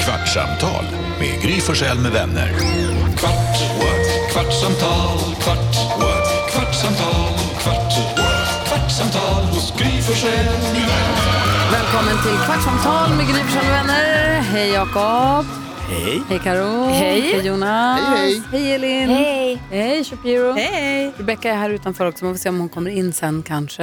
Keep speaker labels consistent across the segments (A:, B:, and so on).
A: Kvartsamtal med Gry Forssell med vänner. Kvart, what? kvartsamtal, kvart, what? kvartsamtal, kvart, what? kvartsamtal hos Gry Forssell med vänner.
B: Välkommen till Kvartsamtal med Gry Forssell med vänner. Hej Jakob.
C: Hej.
B: Hej Karo. Hej. Hej Jonas.
C: Hej,
B: Hej Elin. Hej. Hej Shapiro. Hej. Rebecca är här utanför också. Man får se om hon kommer in sen kanske.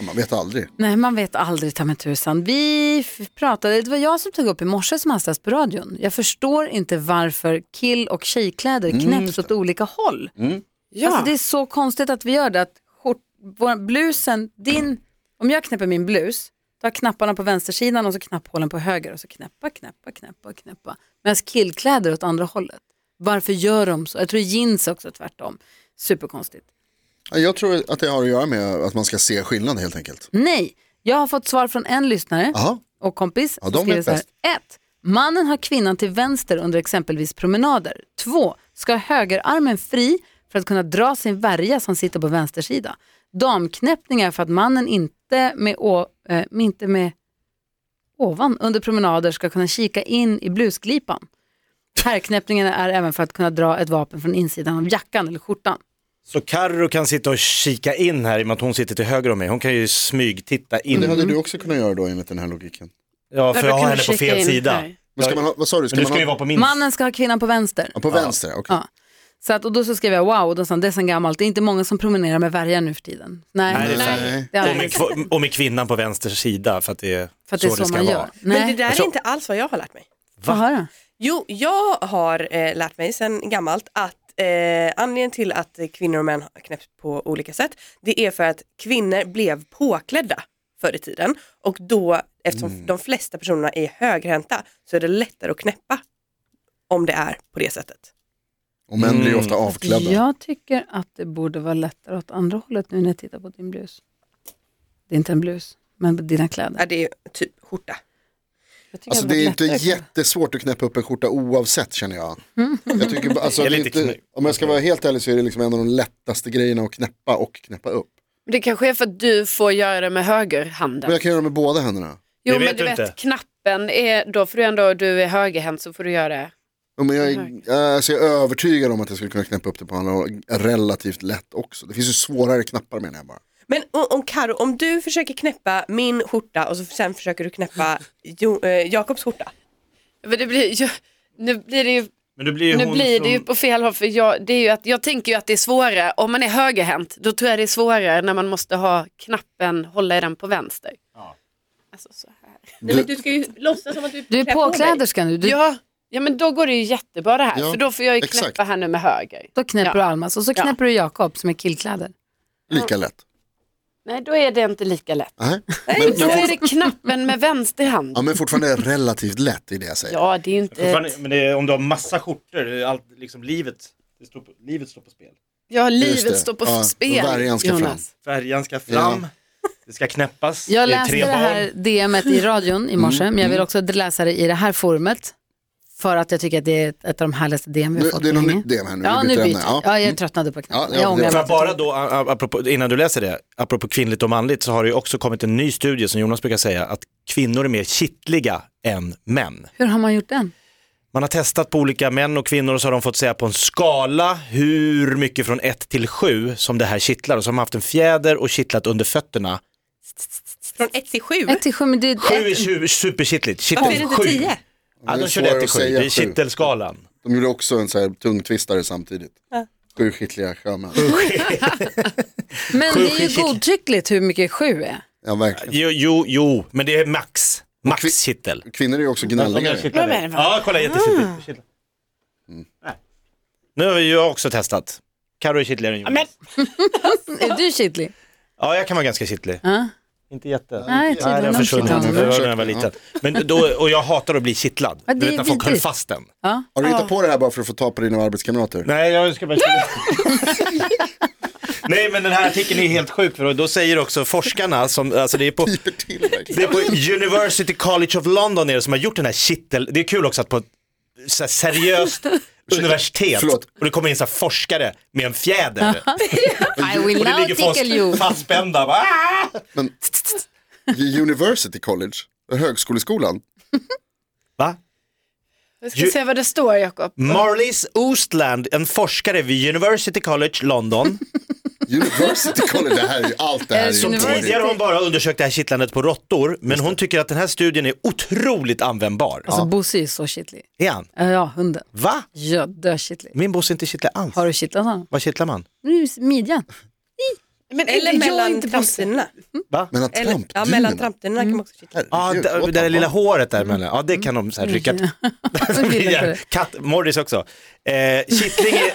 C: Man vet aldrig.
B: Nej, man vet aldrig ta med tusan. Vi f- pratade, det var jag som tog upp i morse som hastigast på radion. Jag förstår inte varför kill och tjejkläder knäpps åt olika håll.
D: Ja.
B: Alltså det är så konstigt att vi gör det. Att skjort, vår, blusen, din, om jag knäpper min blus, då har knapparna på vänstersidan och så knapphålen på höger och så knäppa, knäppa, knäppa, knäppa. Medan killkläder åt andra hållet. Varför gör de så? Jag tror jeans också tvärtom. Superkonstigt.
C: Ja, Jag tror att det har att göra med att man ska se skillnad helt enkelt.
B: Nej, jag har fått svar från en lyssnare
C: Jaha,
B: och kompis
C: Ja,
B: som
C: de
B: skriver
C: vet
B: så här.
C: bäst.
B: 1. Mannen har kvinnan till vänster under exempelvis promenader. 2. Ska ha högerarmen fri för att kunna dra sin värja som sitter på vänster sida. Damknäppningar för att mannen inte med, å, eh, inte med ovan under promenader ska kunna kika in i blusglipan. Herrknäppningen är även för att kunna dra ett vapen från insidan av jackan eller skjortan.
E: Så Carro kan sitta och kika in här i och med att hon sitter till höger om mig. Hon kan ju smygtitta in.
C: det hade du också kunnat göra då enligt den här logiken.
E: Ja, för
D: Varför
E: jag har
D: kan
E: henne
D: du
E: på
D: kika
E: fel
D: in
E: sida.
D: här?
C: Men ska man ha, vad sa du? Ska
E: Men du
C: man
E: ska ju
C: ha,
E: vara på min
B: Mannen ska ha kvinnan på vänster.
C: ja, på vänster? okej.
B: Ja. Så att, och då så skrev jag wow, och då sa han, det är sen gammalt, det är inte många som promenerar med värja nu för tiden. Nej,
E: Nej, det är
C: Nej.
B: det är
E: och, med,
B: alldeles,
E: kv- och med kvinnan på vänster sida för att det är,
B: för att det är så,
E: ska
B: man
E: vara.
B: gör.
D: Men det
B: Nej,
D: där
E: Alltså-
D: är inte alls vad jag har lärt mig.
B: få höra.
D: Jo, jag har eh, lärt mig sedan gammalt att eh, anledningen till att eh, kvinnor och män har knäppt på olika sätt, det är för att kvinnor blev påklädda förr i tiden och då, eftersom de flesta personerna är högerhänta, så är det lättare att knäppa om det är på det sättet.
C: Och män
E: Mm.
C: blir ju ofta avklädda.
B: Jag tycker att det borde vara lättare åt andra hållet nu när jag tittar på din blus. Det är inte en blus, men dina kläder.
D: Ja, det är typ skjorta.
B: Jag tycker
C: Alltså
B: hade
C: det är
B: varit
C: inte
B: lättare.
C: jättesvårt att knäppa upp en skjorta oavsett känner jag.
B: Mm.
C: jag tycker, bara- alltså,
E: Jag är
C: det är
E: lite
C: inte,
E: knäpp.
C: om jag ska vara helt ärlig så är det liksom en av de lättaste grejerna att knäppa och knäppa upp.
F: Det kanske är för att du får göra det med högerhanden.
C: Men jag kan göra det med båda händerna.
F: Jo
E: Det vet
F: men du
E: du
F: vet
E: inte.
F: knappen, är, då får du ändå, du är högerhänt så får du göra det.
C: Ja, Men jag, är- alltså, jag är övertygad om att jag skulle kunna knäppa upp det på andra håll relativt lätt också. Det finns ju svårare knappar menar jag bara.
D: Men o- om Karo, om du försöker knäppa min skjorta och så sen försöker du knäppa jo, eh, Jakobs skjorta.
F: Men det blir, ju- nu blir det ju,
E: Men det blir ju
F: nu
E: hon
F: blir
E: som...
F: det ju på fel håll för jag, det är ju att, jag tänker ju att det är svårare, om man är högerhänt då tror jag det är svårare när man måste ha knappen, hålla i den på vänster. Alltså så här.
C: Du,
D: ska ju låtsas som att
B: Du är påkläderska nu, du,
F: Ja, ja men då går det ju jättebra det här,
C: Ja,
F: för då får jag ju
C: exakt.
F: knäppa här nu med höger.
B: då knäpper
F: Ja.
B: du Almas och så
F: Ja.
B: knäpper du Jakob som är killkläder.
C: lika lätt.
F: Nej då är det inte lika lätt.
C: Nej.
F: Nej,
C: Men,
F: då
C: men,
F: är det knappen med vänster hand.
C: ja, men fortfarande relativt lätt i det jag säger.
F: Ja, det är ju inte...
E: Fortfarande- Men det är, om du har massa skjortor, det är allt, liksom livet, det står på, livet står på spel.
F: Ja,
C: Just det.
F: livet står på
C: Ja,
F: spel,
C: värjan ska fram.
F: Jonas.
E: Färjan ska fram, det ska knäppas,
B: Jag
E: det är
B: läste
E: tre
B: det
E: barn.
B: här DMet i radion i morse, men jag vill också läsa det i det här forumet. För att jag tycker att det är ett av de härligaste DM vi
C: Nu,
B: har fått
C: det är
B: på
C: något
B: länge.
C: nytt DM här nu.
B: Ja,
C: vi
B: nu
C: byter
B: byter
C: ämne.
B: jag. Ja, jag tröttnade på
C: Ja,
B: knappen.
C: ja,
B: jag
C: det
B: ångrar
E: Får
B: mig.
E: jag bara då, a- a- apropå, innan du läser det, apropå kvinnligt och manligt så har det ju också kommit en ny studie som Jonas brukar säga att kvinnor är mer kittliga än män.
B: Hur har man gjort den?
E: Man har testat på olika män och kvinnor och så har de fått säga på en skala hur mycket från 1 till 7 som det här kittlar och så har man haft en fjäder och kittlat under fötterna.
D: Från 1 till 7.
B: 1 till 7, men det är
E: 7 är tju- superkittligt,
D: Varför är det
E: kittligt.
D: inte
E: 7.
D: 10?
E: Ja,
C: Det är
E: de körde 1
C: svårare
E: till
C: att
E: 7,
C: säga
E: det är
C: sju.
E: kittelskalan.
C: De gjorde också en så här tungtvistare samtidigt.
D: Ja.
C: Sju skickliga sjömän.
B: Men
E: Sju
B: det är ju
E: skickligt.
B: godtyckligt hur mycket sju är.
C: Ja, verkligen.
E: Jo, jo, jo, men det är max.
C: kvi-
E: Max kittel.
C: Kvinnor är ju också gnälligare.
F: Vad är det?
E: Ja, kolla
B: Ah.
E: jättekittlad. Nej. Nu har ju jag också testat. Carro är kittligare än Jonas.
B: Är du kittlig?
E: Ja, jag kan vara ganska kittlig.
B: Ja.
E: Inte jätte.
B: Ah. Nej,
E: Nej,
B: tydligen
E: den
B: har de
E: försvunnit.
B: kittlat
E: Den
B: honom.
E: var när jag var liten. Men då, och jag hatar att bli kittlad.
B: Ja, det
E: du vet
B: är
E: när folk höll
B: vidrigt.
E: fast den.
B: Ja.
C: Har du hittat på det här bara för att få ta på dina arbetskamrater?
E: Nej, jag ska bara Nej, men den här artikeln är helt sjuk. För då säger också forskarna, som, alltså det är
B: Typ.
E: på
C: Piper till verkligen.
E: Det är på University College of London är det som har gjort den här kittel, det är kul också att på ett så här seriöst universitet
C: Förlåt.
E: och det kommer in så här forskare med en fjäder
B: I will
E: och det
B: now
E: ligger
B: tickle you.
E: folk fastspända. bara, "Ah!"
C: University College, högskoleskolan.
E: Va?
F: Vi ska
E: Ju-
F: se vad det står Jakob.
E: Marlies Oostland, en forskare vid University College London.
C: University College, det här är ju allt det här är
B: Som
C: ju
B: tidigare-
C: dåligt.
E: Tidigare har hon bara undersökt det här kittlandet på råttor, men hon tycker att den här studien är otroligt användbar.
B: Alltså Bosse är ju så kittlig.
E: Är han?
B: Eh, Ja, hunden.
E: Va?
B: Ja, dökittlig.
E: Min boss är inte kittlar alls.
B: Har du kittlat honom?
E: Vad kittlar man?
B: Nu, midjan.
F: Men
D: Eller
F: jag är
D: mellan
F: inte Bosse.
D: trampdynorna.
E: Va?
C: Mellan
D: Eller-
C: trampdynorna.
D: Ja, mellan trampdynorna kan man också kittla.
E: Ja,
C: Herregud,
E: det,
C: låt
E: det där
C: han
E: lilla
C: vara.
E: håret där emellan, ja det
B: Mm.
E: kan de så här rycka.
B: Jag gillar det.
E: katt, Morris också. Eh, kittling är,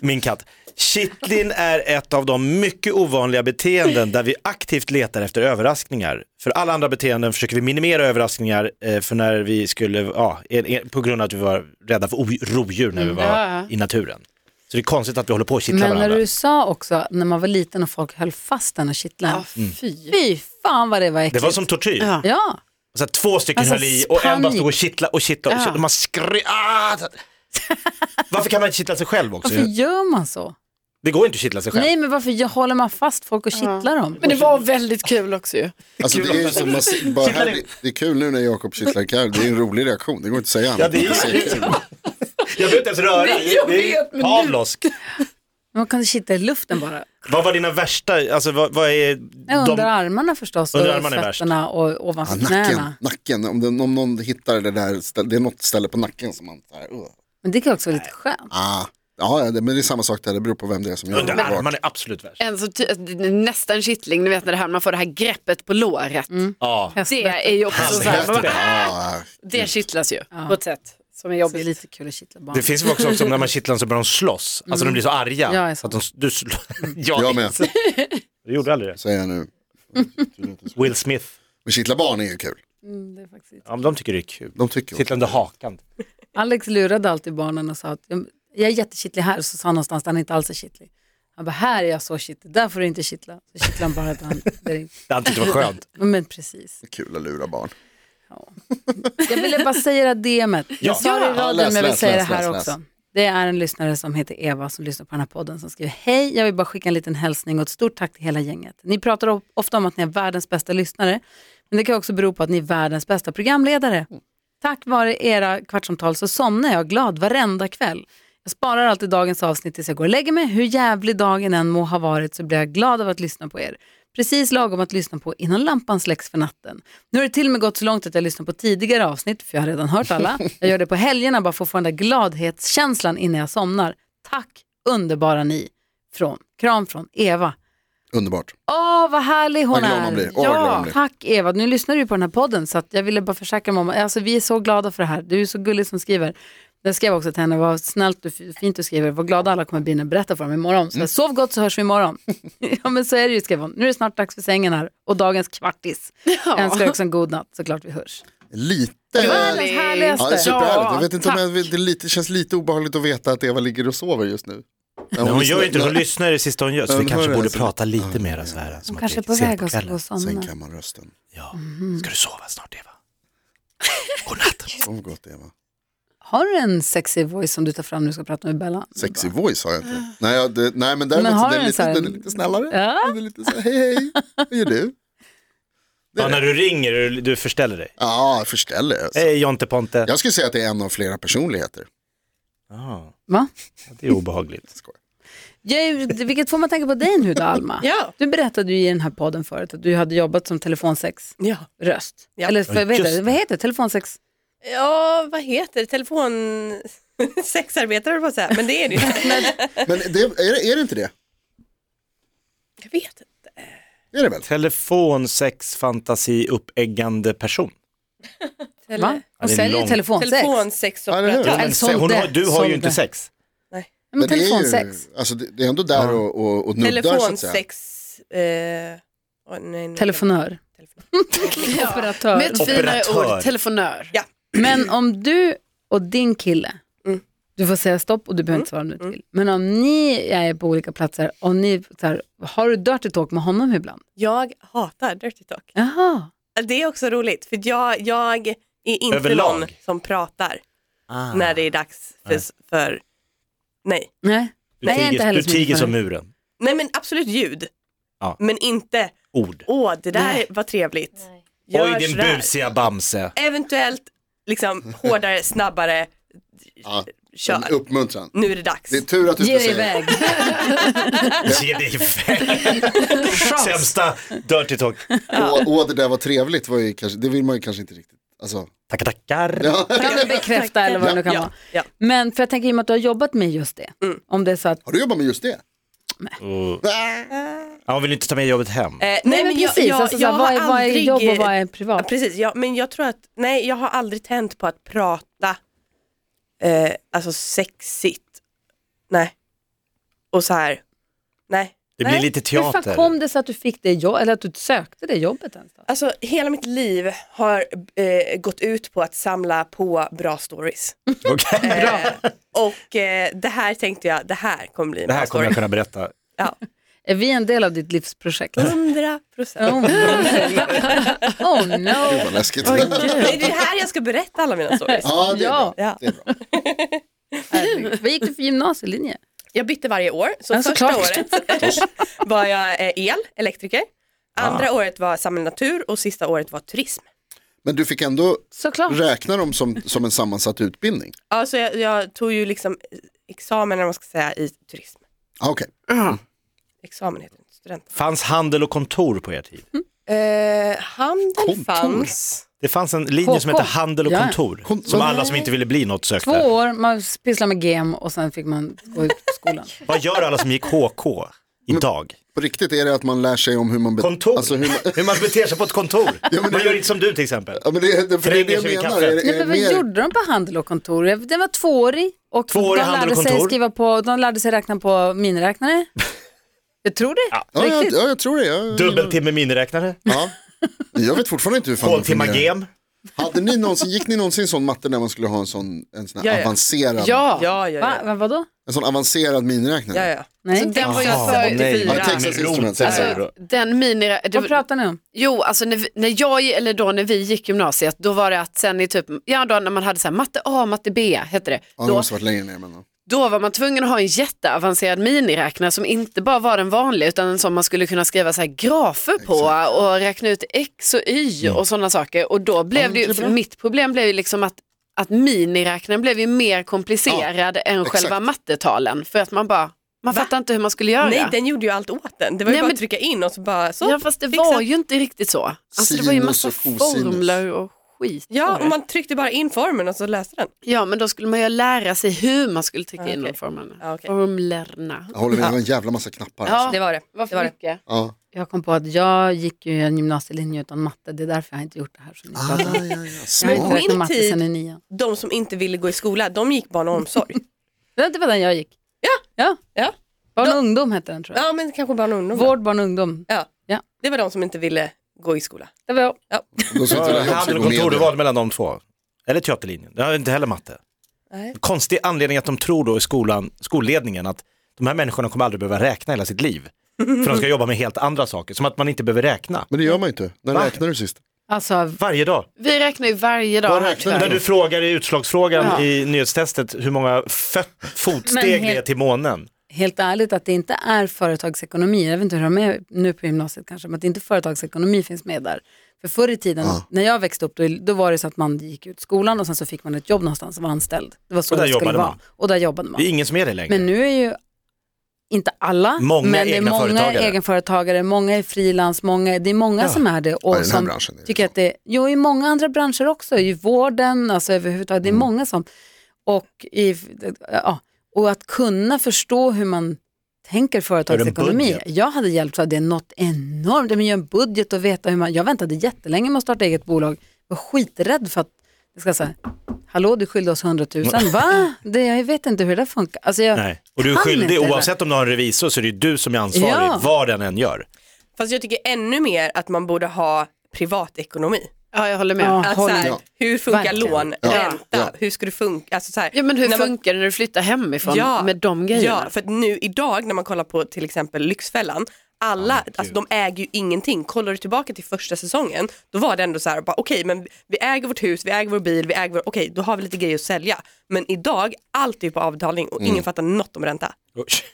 E: min katt. Kittling är ett av de mycket ovanliga beteenden där vi aktivt letar efter överraskningar. För alla andra beteenden försöker vi minimera överraskningar eh, för när vi skulle, ja, en- en- på grund av att vi var rädda för o- rovdjur när vi var
F: ja.
E: i naturen. Så det är konstigt att vi håller på och kittlar
B: Mm, Men när
E: varandra.
B: du sa också, när man var liten och folk höll fast den och kittlade
F: Ja,
B: en.
F: fy.
B: Fy fan vad det var
E: Det
B: äckligt.
E: var som tortyr.
F: Ja.
B: Ja,
E: Så att två stycken
B: Alltså,
E: höll i och en bara
B: panik.
E: stod och kittlade och kittlade och
F: Ja.
E: kittlade. Man skrek. Ah! Varför kan man inte kittla sig själv också?
B: varför gör man så?
E: Det går inte att kittla sig själv.
B: Nej, men varför jag håller man fast folk och kittlar dem?
F: Men det var väldigt kul också ju.
C: Alltså, det, är ju som, man- bara här, det, det är kul nu när Jakob kittlar Carro, det är en rolig reaktion, det går inte att säga annat.
E: Ja, det är-
C: Det är kul.
E: Jag behöver inte ens röra.
F: Nej, jag vet, men nu-
E: Pavlovsk.
B: Man kan kittla i luften bara.
E: Vad var dina värsta, alltså vad, vad är
B: Ja, Under
E: de...
B: armarna förstås,
E: Under
B: och
E: armarna är värst.
B: fötterna och
C: Ja,
B: ovanför
C: nacken,
B: knäna.
C: nacken. Om, det, om någon hittar det där, ställ- det är något ställe på nacken som man, så här, uh.
B: Men det kan också vara lite skönt.
C: ah. ja, ja, det, men det är samma sak där, det beror på vem det är som gör
E: Under
C: det.
E: armarna är absolut värst.
F: En så ty- nästan kittling, ni vet när det här, man får det här greppet på låret.
B: Mm.
E: Ja.
F: Det är ju också så här,
C: Ah,
F: det kittlas ju på ett sätt
B: Så
F: som är
B: Det är
F: jobbigt.
B: lite kul att kittla barn.
E: Det finns ju också, också när man kittlar så börjar de slåss. Alltså de blir så arga.
B: Mm. Ja, jag är
E: så att de, du slår.
C: jag med,
E: Du gjorde aldrig det.
C: säger jag nu.
E: Will Smith.
C: Men kittla barn är ju kul,
B: Mm, det är faktiskt lite-
E: Ja, men de tycker det är kul.
C: de tycker
E: Kittla under hakan.
B: Alex lurade alltid barnen och sa att "Ja, men jag är jättekittlig här, så sa han någonstans där han inte alls är kittlig. Han bara, här är jag så kittlig, där får du inte kittla. Så kittlar han bara ibland. Det är-
E: Det han tyckte det var skönt.
B: Men precis.
C: det är kul att lura barn.
B: Jag ville bara säga det här DMet. Jag
E: Ja.
B: sa det i
C: Ja,
B: radion
C: läs,
B: men jag vill
C: läs,
B: säga
C: läs,
B: det här
C: läs,
B: också.
C: läs.
B: Det är en lyssnare som heter Eva som lyssnar på den här podden som skriver Hej, jag vill bara skicka en liten hälsning och ett stort tack till hela gänget. Ni pratar of- ofta om att ni är världens bästa lyssnare, men det kan också bero på att ni är världens bästa programledare. Tack vare era kvartsamtal så somnar jag glad varenda kväll. Jag sparar alltid dagens avsnitt tills jag går och lägger mig. Hur jävlig dagen än må ha varit så blir jag glad av att lyssna på er. Precis lagom att lyssna på innan lampan släcks för natten. Nu har det till och med gått så långt att jag lyssnar på tidigare avsnitt, för jag har redan hört alla. Jag gör det på helgerna bara för att få den där gladhetskänslan innan jag somnar. Tack underbara ni. Från, kram från Eva.
C: Underbart.
B: Åh, vad härlig hon
C: Vad glad
B: är.
C: man blir. Åh, vad glad man
B: ja,
C: blir.
B: tack Eva. Nu lyssnar du ju på den här podden så att jag ville bara försäkra mig om alltså, vi är så glada för det här. Du är så gullig som skriver. Jag skrev också till henne, vad snällt och f- fint du skriver, vad glada alla kommer bli när jag berättar för dem imorgon.
C: Mm.
B: Så jag, sov gott så hörs vi imorgon. ja men så är det ju skrev hon. Nu är det snart dags för sängen här och dagens kvartis. Jag önskar också en god natt såklart vi hörs.
C: Lite...
B: Världens
C: Ja, det är
B: härligaste.
C: superhärligt. Jag vet inte om
F: tack.
C: jag, det, är lite, känns lite obehagligt att veta att Eva ligger och sover just nu.
E: Men hon gör ju inte det, hon lyssnar i det sista hon gör. Så
C: Ja,
E: vi
C: men
E: kanske
C: hör det,
E: borde
C: alltså.
E: prata lite mer så här.
B: Hon
E: Som att
B: kanske är
E: det
B: på
E: sent
B: väg att Mhm. gå
E: kvällen.
B: och somna.
C: Sänker man rösten.
E: Ja. Ska du sova snart Eva? Godnatt.
C: Sov gott Eva.
B: Har du en sexy voice som du tar fram när du ska prata med Bella?
C: Sexy voice har jag inte. Nej, jag, det, nej men däremot
B: Men har
C: den
B: du
C: är
B: en
C: lite,
B: sån här-
C: den är lite snällare.
B: Ja.
C: Den är lite så här, hej hej, vad gör du?
E: Ja, när du ringer, du, du förställer dig.
C: Ja, jag förställer. Alltså.
E: Hej Jonte Ponte.
C: Jag skulle säga att det är en av flera personligheter.
E: Ja,
B: Va?
E: det är obehagligt.
B: Jag, är ju- vilket får man tänka på dig nu då Alma?
D: Ja.
B: Du berättade ju i den här podden förut att du hade jobbat som telefonsexröst.
D: Ja. Ja.
B: Eller för,
E: Ja,
B: vad, heter,
E: just
B: det?
E: det.
B: vad heter det? Telefonsex?
D: ja, vad heter det? Telefon... Sexarbetare höll jag på att säga, men det är det ju inte.
C: Men det, är, det- är det inte det?
D: Jag vet inte.
C: Är det väl?
E: Telefon, sex, fantasi, uppäggande person.
B: Va?
E: Ja,
B: Hon
E: det är
B: säljer
E: lång-
B: telefonsex.
C: Ja, eller
D: Telefonsexoperatör.
B: hur?
E: Men se-
B: sålde,
E: hon har, du har ju
B: sålde.
E: inte sex.
D: Nej.
B: Ja, men
C: det, är ju,
B: telefonsex.
C: alltså, det, det är ändå där och, och, och nuddar så att säga.
D: Telefonsex... Eh, åh, nej, nu-
B: Telefonör.
D: Telefon.
B: Operatör.
F: Med ett finare
E: Operatör.
F: ord, telefonör.
D: Ja.
B: Men om du och din kille,
D: Mm.
B: du får säga stopp och du behöver inte svara om du inte vill. Men om ni är på olika platser, om ni, så här, har du dirty talk med honom ibland?
D: Jag hatar dirty talk.
B: Jaha.
D: Det är också roligt för jag, jag är inte
E: Överlag.
D: någon som pratar
C: Ah.
B: Ah.
D: när det är dags för, för... Nej.
B: Nej.
E: Du
B: Nej, jag är inte
E: tiger,
B: heller
E: du
B: så mycket
E: tiger
B: för
E: som
B: det.
E: muren.
D: nej men absolut ljud.
E: Ja.
D: Men inte,
E: Ord.
D: åh det där
B: Nej.
D: var trevligt. Gör
E: Oj din
D: sådär.
E: busiga Bamse.
D: Eventuellt, liksom hårdare, snabbare,
C: Ja,
D: kör.
E: Mm.
C: Uppmuntran.
D: Nu är det dags.
C: Det
D: Eh,
C: är tur att du
B: Ge dig
C: ska säga
B: iväg.
E: Ge dig iväg. Sämsta Dirty Talk.
C: Och, och det där var trevligt, var ju kanske, det vill man ju kanske inte riktigt. Alltså,
E: Tackar, tackar.
C: ja.
B: Kan bekräfta eller vad det nu kan vara.
D: ja, ja. Mm.
B: Men för jag tänker i och med att du har jobbat med just det. Om det är så att,
C: Har du jobbat med just det?
E: Ja, hon vill inte ta med jobbet hem.
D: Eh,
B: nej men
D: jag-
B: precis,
D: jag-
B: alltså, så
D: jag
B: här, vad, är,
D: har
B: vad är
D: aldrig,
B: jobb och
D: eh,
B: vad är
D: Ja,
B: privat?
D: precis, ja, men jag tror att, nej jag har aldrig tänt på att prata eh, alltså sexigt. Nej. Och så här, nej.
E: Det blir
D: nej.
E: lite
B: Hur fan
E: teater.
B: kom det sig att du fick det jobbet, eller att du sökte det jobbet ens? Då?
D: Alltså hela mitt liv har eh, gått ut på att samla på bra stories.
E: Okej.
D: Eh, och eh, det här tänkte jag, det här kommer bli en
E: Det här
D: bra
E: kommer jag
D: story.
E: kunna berätta.
D: Ja.
B: Är vi en del av ditt livsprojekt?
E: Mm.
B: oh,
D: 100 procent.
B: oh no!
C: Det var läskigt.
D: Det är det här jag ska berätta alla mina stories.
C: Ja, det är
B: Ja.
C: bra.
D: Ja.
C: Det är bra.
B: Herregud. Vad gick du för gymnasielinje?
D: Jag bytte varje år, så
B: Ja,
D: första
B: såklart.
D: året eh, var jag eh, el, elektriker. Andra året var samhällsnatur och sista året var turism.
C: Men du fick ändå
B: Såklart.
C: räkna dem som, som en sammansatt utbildning?
D: Ja, så jag, jag tog ju liksom examen, eller vad man ska säga, i turism.
C: Ah, Okej,
D: Examen heter det, student.
E: Fanns handel och kontor på er tid?
B: Mm.
D: Eh, handel
C: Kontor.
D: fanns.
E: Det fanns en linje som hette
B: KK.
E: handel och
B: Ja.
E: kontor.
C: Kon-
E: Som
C: vad-
E: alla som inte ville bli något
B: Två
E: sökte.
B: år, man pysslar med gem och sen fick man gå ut på skolan.
E: Vad gör alla som gick HK idag?
C: på riktigt är det att man lär sig om hur man... be-
E: Kontor.
C: Alltså hur man...
E: Hur man beter sig på ett kontor.
C: men
E: man
C: det-
E: gör inte som du till exempel.
C: Ja, men det, det, för det är det
E: Tränger
C: jag
E: sig vid
C: menar.
E: kaffet.
C: Är, det-
B: Nej,
C: är det
B: men vad
C: Eh, mer...
B: gjorde de på handel och kontor? Den var tvåårig och
E: Tvåårig
B: de
E: handel
B: lärde
E: och
B: sig
E: kontor.
B: skriva på, de lärde sig räkna på miniräknare.
C: Eh.
B: Jag tror det.
C: Ja, jag,
B: Riktigt.
C: ja, jag tror det. Jag,
E: Dubbeltimme miniräknare.
C: Ja. Jag vet fortfarande inte hur fan det
E: Håltimma
C: fungerar.
E: gem.
C: Hade ni någonsin, gick ni någonsin sån matte när man skulle ha en sån, en sån här
D: Ja, ja.
C: avancerad,
F: Ja,
D: Ja, ja,
B: Va,
D: ja.
B: va, vadå?
C: en sån avancerad miniräknare?
D: ja, ja.
B: Nej.
F: Så den var ju
E: Jaha,
F: för...
E: nej.
C: Ja, Texas
E: Med
C: Instruments.
E: rot.
C: säger du
F: Alltså,
C: då.
F: den mini... Det,
B: Vad pratar ni om?
F: jo, alltså när, vi- när jag, eller då när vi gick gymnasiet, då var det att sen i typ, ja då när man hade så här matte A, matte B, hette det.
C: Ja, det
F: då,
C: måste varit längre ner. Men, ja.
F: då var man tvungen att ha en jätteavancerad miniräknare som inte bara var den vanliga utan en som man skulle kunna skriva så här grafer på och räkna ut x och y och sådana saker. Och då blev det ju, för mitt problem blev ju liksom att att miniräknaren blev ju mer komplicerad än
C: exakt.
F: själva mattetalen för att man bara, man fattar inte hur man skulle göra.
D: Nej, den gjorde ju allt åt den. Det var ju
F: Nej,
D: bara
F: men-
D: att trycka in och så bara så.
F: Ja fast det
D: fixat.
F: var ju inte riktigt så. Alltså det var ju
C: Sinus
F: massa
C: och cosinus.
F: formler och skit.
D: Ja,
F: var
D: och
F: det.
D: man tryckte bara in formen och så läste den.
F: ja men då skulle man ju lära sig hur man skulle trycka in
D: okej.
F: de formlerna.
D: Ja, okej.
F: Formlerna.
C: Jag håller med, det var en jävla massa knappar. alltså.
F: Ah, Ja,
D: Det var det.
F: Vad
D: det var
F: för
D: det.
F: mycket.
C: Ja.
B: Jag kom på att jag gick ju en gymnasielinje utan matte, det är därför jag inte gjort det här. Som ni
C: Ah,
B: pratar om.
C: ja, ja.
B: jag har inte
C: Smart.
D: Min
B: räknat matte
D: tid-
B: sedan i nian.
D: De som inte ville gå i skola, de gick barn och omsorg.
B: Det det var den jag gick. Ja. ja.
D: ja.
B: Barn och ungdom hette den tror jag.
D: ja, men kanske barn och ungdom.
B: Vård, barn och ungdom.
D: Ja.
B: Ja.
D: Det var de som inte ville gå i skola.
B: Det var jag.
C: Då sitter det här
E: Handel och kontor, du valde mellan de två. Eller teaterlinjen. Det var inte heller matte.
D: Nej.
E: Konstig anledning att de tror då i skolan, skolledningen att de här människorna kommer aldrig behöva räkna hela sitt liv. För de ska jobba med helt andra saker. Som att man inte behöver räkna.
C: Men det gör man ju inte. När
E: Va?
C: räknar du sist?
B: Alltså,
E: Varje dag.
F: Vi räknar ju varje dag.
C: Vad
F: här,
C: räknar
F: tror
E: När
F: jag.
E: du frågar i utslagsfrågan
F: Ja.
E: i nyhetstestet hur många fö-
B: Men
E: fotsteg
B: helt-
E: det är till månen.
B: helt ärligt att det inte är företagsekonomi, jag vet inte hur de är nu på gymnasiet kanske, men att inte företagsekonomi finns med där. För förr i tiden, när jag växte upp, då, då var det så att man gick ut skolan och sen så fick man ett jobb någonstans och var anställd. Det var så
E: Och där
B: det skulle
E: jobbade
B: vara.
E: man.
B: Och där jobbade man.
E: Det är ingen som är det längre.
B: Men nu är ju inte alla,
E: Många
B: men det är
E: egna
B: många
E: företagare.
B: egenföretagare, många är frilans, många, det är många som är det.
C: Ja,
B: Och
C: i den här
B: som
C: branschen är det
B: tycker
C: så.
B: att det, jo i många andra branscher också, i vården, alltså överhuvudtaget,
C: Mm.
B: det är många som, och, i, ja, och att kunna förstå hur man tänker företagsekonomi.
E: budget.
B: Jag hade hjälpt av det något enormt, men göra en budget och veta hur man, jag väntade jättelänge med att starta eget bolag, var skiträdd för att jag ska säga, hallå du skyllde oss 100 000, va? Det, jag vet inte hur det där funkar. Alltså, jag,
E: Nej. Och du är
B: kan inte
E: skyldig,
B: det där.
E: oavsett om du har en revisor så är det ju du som är ansvarig,
B: Ja.
E: vad den än gör.
D: Fast jag tycker ännu mer att man borde ha privatekonomi.
F: Ja, jag håller med.
B: Ja.
F: Ja.
D: Att så
B: håller
D: här,
C: med.
D: Hur funkar
B: Verkligen.
D: lån,
C: Ja.
D: ränta,
C: Ja.
D: hur ska det funka? Alltså så här,
F: men hur
D: när man-
F: funkar det när du flyttar hemifrån
D: ja,
F: med de grejerna?
D: Ja, för att nu idag när man kollar på till exempel Lyxfällan, alla, alltså de äger ju ingenting. Kollar du tillbaka till första säsongen, då var det ändå så här, bara, okej men vi äger vårt hus, vi äger vår bil, vi äger vår, okej då har vi lite grejer att sälja. Men idag, allt är på avbetalning och ingen fattar något om ränta.
E: Usch.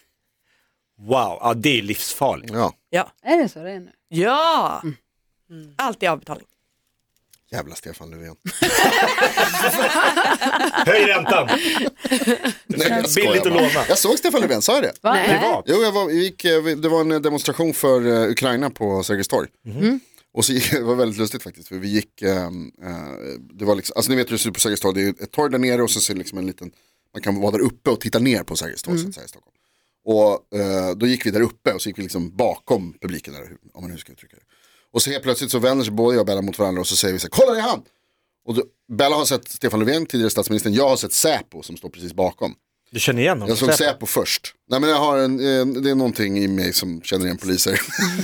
E: Wow, ja, det är livsfarligt.
C: Ja.
D: Ja,
B: Är det så det är nu?
D: ja. allt är avbetalning.
C: Jävla Stefan Löfven.
E: Höj räntan!
C: Nej, jag skojar
E: Billigt att
C: bara.
E: låna.
C: Jag såg Stefan Löfven, sa jag det?
B: Va?
F: Nej.
E: Privat.
C: Jo, jag var, vi gick, eh, vi- det var en eh, demonstration för eh, Ukraina på Sergels torg. Och så gick, det var väldigt lustigt faktiskt, för vi gick, ehm, eh, det var liksom, alltså ni vet hur det ser ut på Sergels torg, det är ett torg där nere och så ser det liksom en liten, man kan vara där uppe och titta ner på Sergels torg så att säga i Stockholm. Och eh, då gick vi där uppe och så gick vi liksom bakom publiken där, hur- om man nu ska uttrycka det. Och så helt plötsligt så vänder sig både jag och Bella mot varandra och så säger vi så här, kolla det är han! Och då, Bella har sett Stefan Löfven, tidigare statsministern, jag har sett Säpo som står precis bakom.
E: Du känner igen honom?
C: Jag såg Säpo först. Nej men jag har en, eh, det är någonting i mig som känner igen poliser.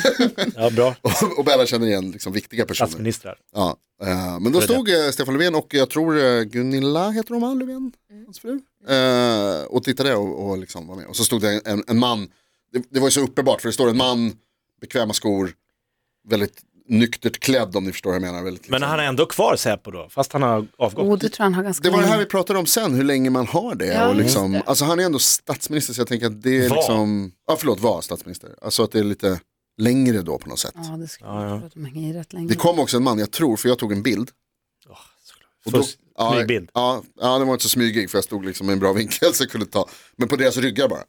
E: Ja, bra.
C: och, och Bella känner igen liksom, viktiga personer.
E: Statsministrar.
C: Ja. eh, men då
E: Det är det.
C: stod eh, Stefan Löfven och jag tror eh, Gunilla heter hon va, Löfven? Hans fru. Eh, och tittade och, och liksom var med. Och så stod det en- en, en man, det, det var ju så uppenbart för det står en man, bekväma skor, väldigt nyktert klädd om ni förstår vad jag menar. Väldigt,
E: Men
C: liksom-
E: han är ändå kvar Säpo då, fast han har avgått.
B: Oh, det tror jag han har ganska
C: Det var det här
B: länge.
C: vi pratade om sen, hur länge man har det.
F: Ja,
C: och liksom,
F: just det.
C: Alltså han är ändå statsminister så jag tänker att det är
E: Var.
C: liksom, ja förlåt var statsminister. Alltså att det är lite längre då på något sätt.
B: Ja, det skulle
E: Ja, ja.
B: jag tro att de hänger i rätt länge.
C: Det kom också en man, jag tror, för jag tog en bild. Och då-
E: Fusk,
C: ja,
E: smygbild.
C: Ja, ja, det var inte så smygig för jag stod liksom i en bra vinkel så jag kunde ta, men på deras ryggar bara.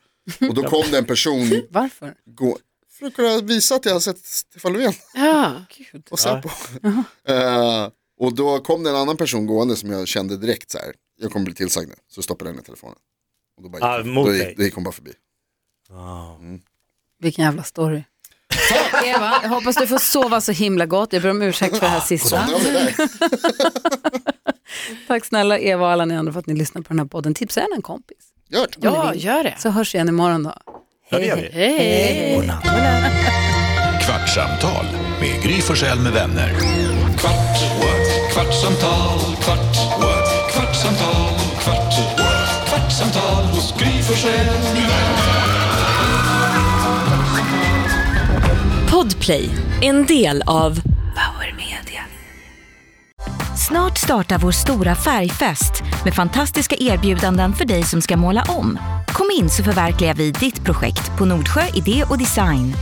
C: Och då kom det en person,
B: Varför?
C: gå, för att kunna visa att jag har sett Stefan Löfven
F: Ja.
C: och Säpo. Eh, och då kom det en annan person gående som jag kände direkt så här, jag kommer bli tillsagd nu, så stoppade jag den i telefonen. Och då, bara
E: Ah,
C: gick,
E: mot
C: då,
E: dig.
C: gick, då gick hon bara förbi.
B: Vilken jävla story. Eva, jag hoppas du får sova så himla gott. Jag ber om ursäkt för det här sista.
C: Somnade om det där.
B: Tack snälla Eva och alla ni andra för att ni lyssnar på den här podden. Tipsa gärna en kompis.
C: Gört.
F: ja, gör det.
B: Så hörs vi igen imorgon då.
E: Ja, det gör vi.
F: Hej.
A: Kvartsamtal med Gry Forssell med vänner. Kvart, what? kvartsamtal, kvart, what? kvartsamtal, kvart, what? kvartsamtal hos Gry Forssell med vänner.
G: Podplay, en del av Power Media.
H: Snart startar vår stora färgfest med fantastiska erbjudanden för dig som ska måla om. Kom in så förverkligar vi ditt projekt på Nordsjö Idé och Design.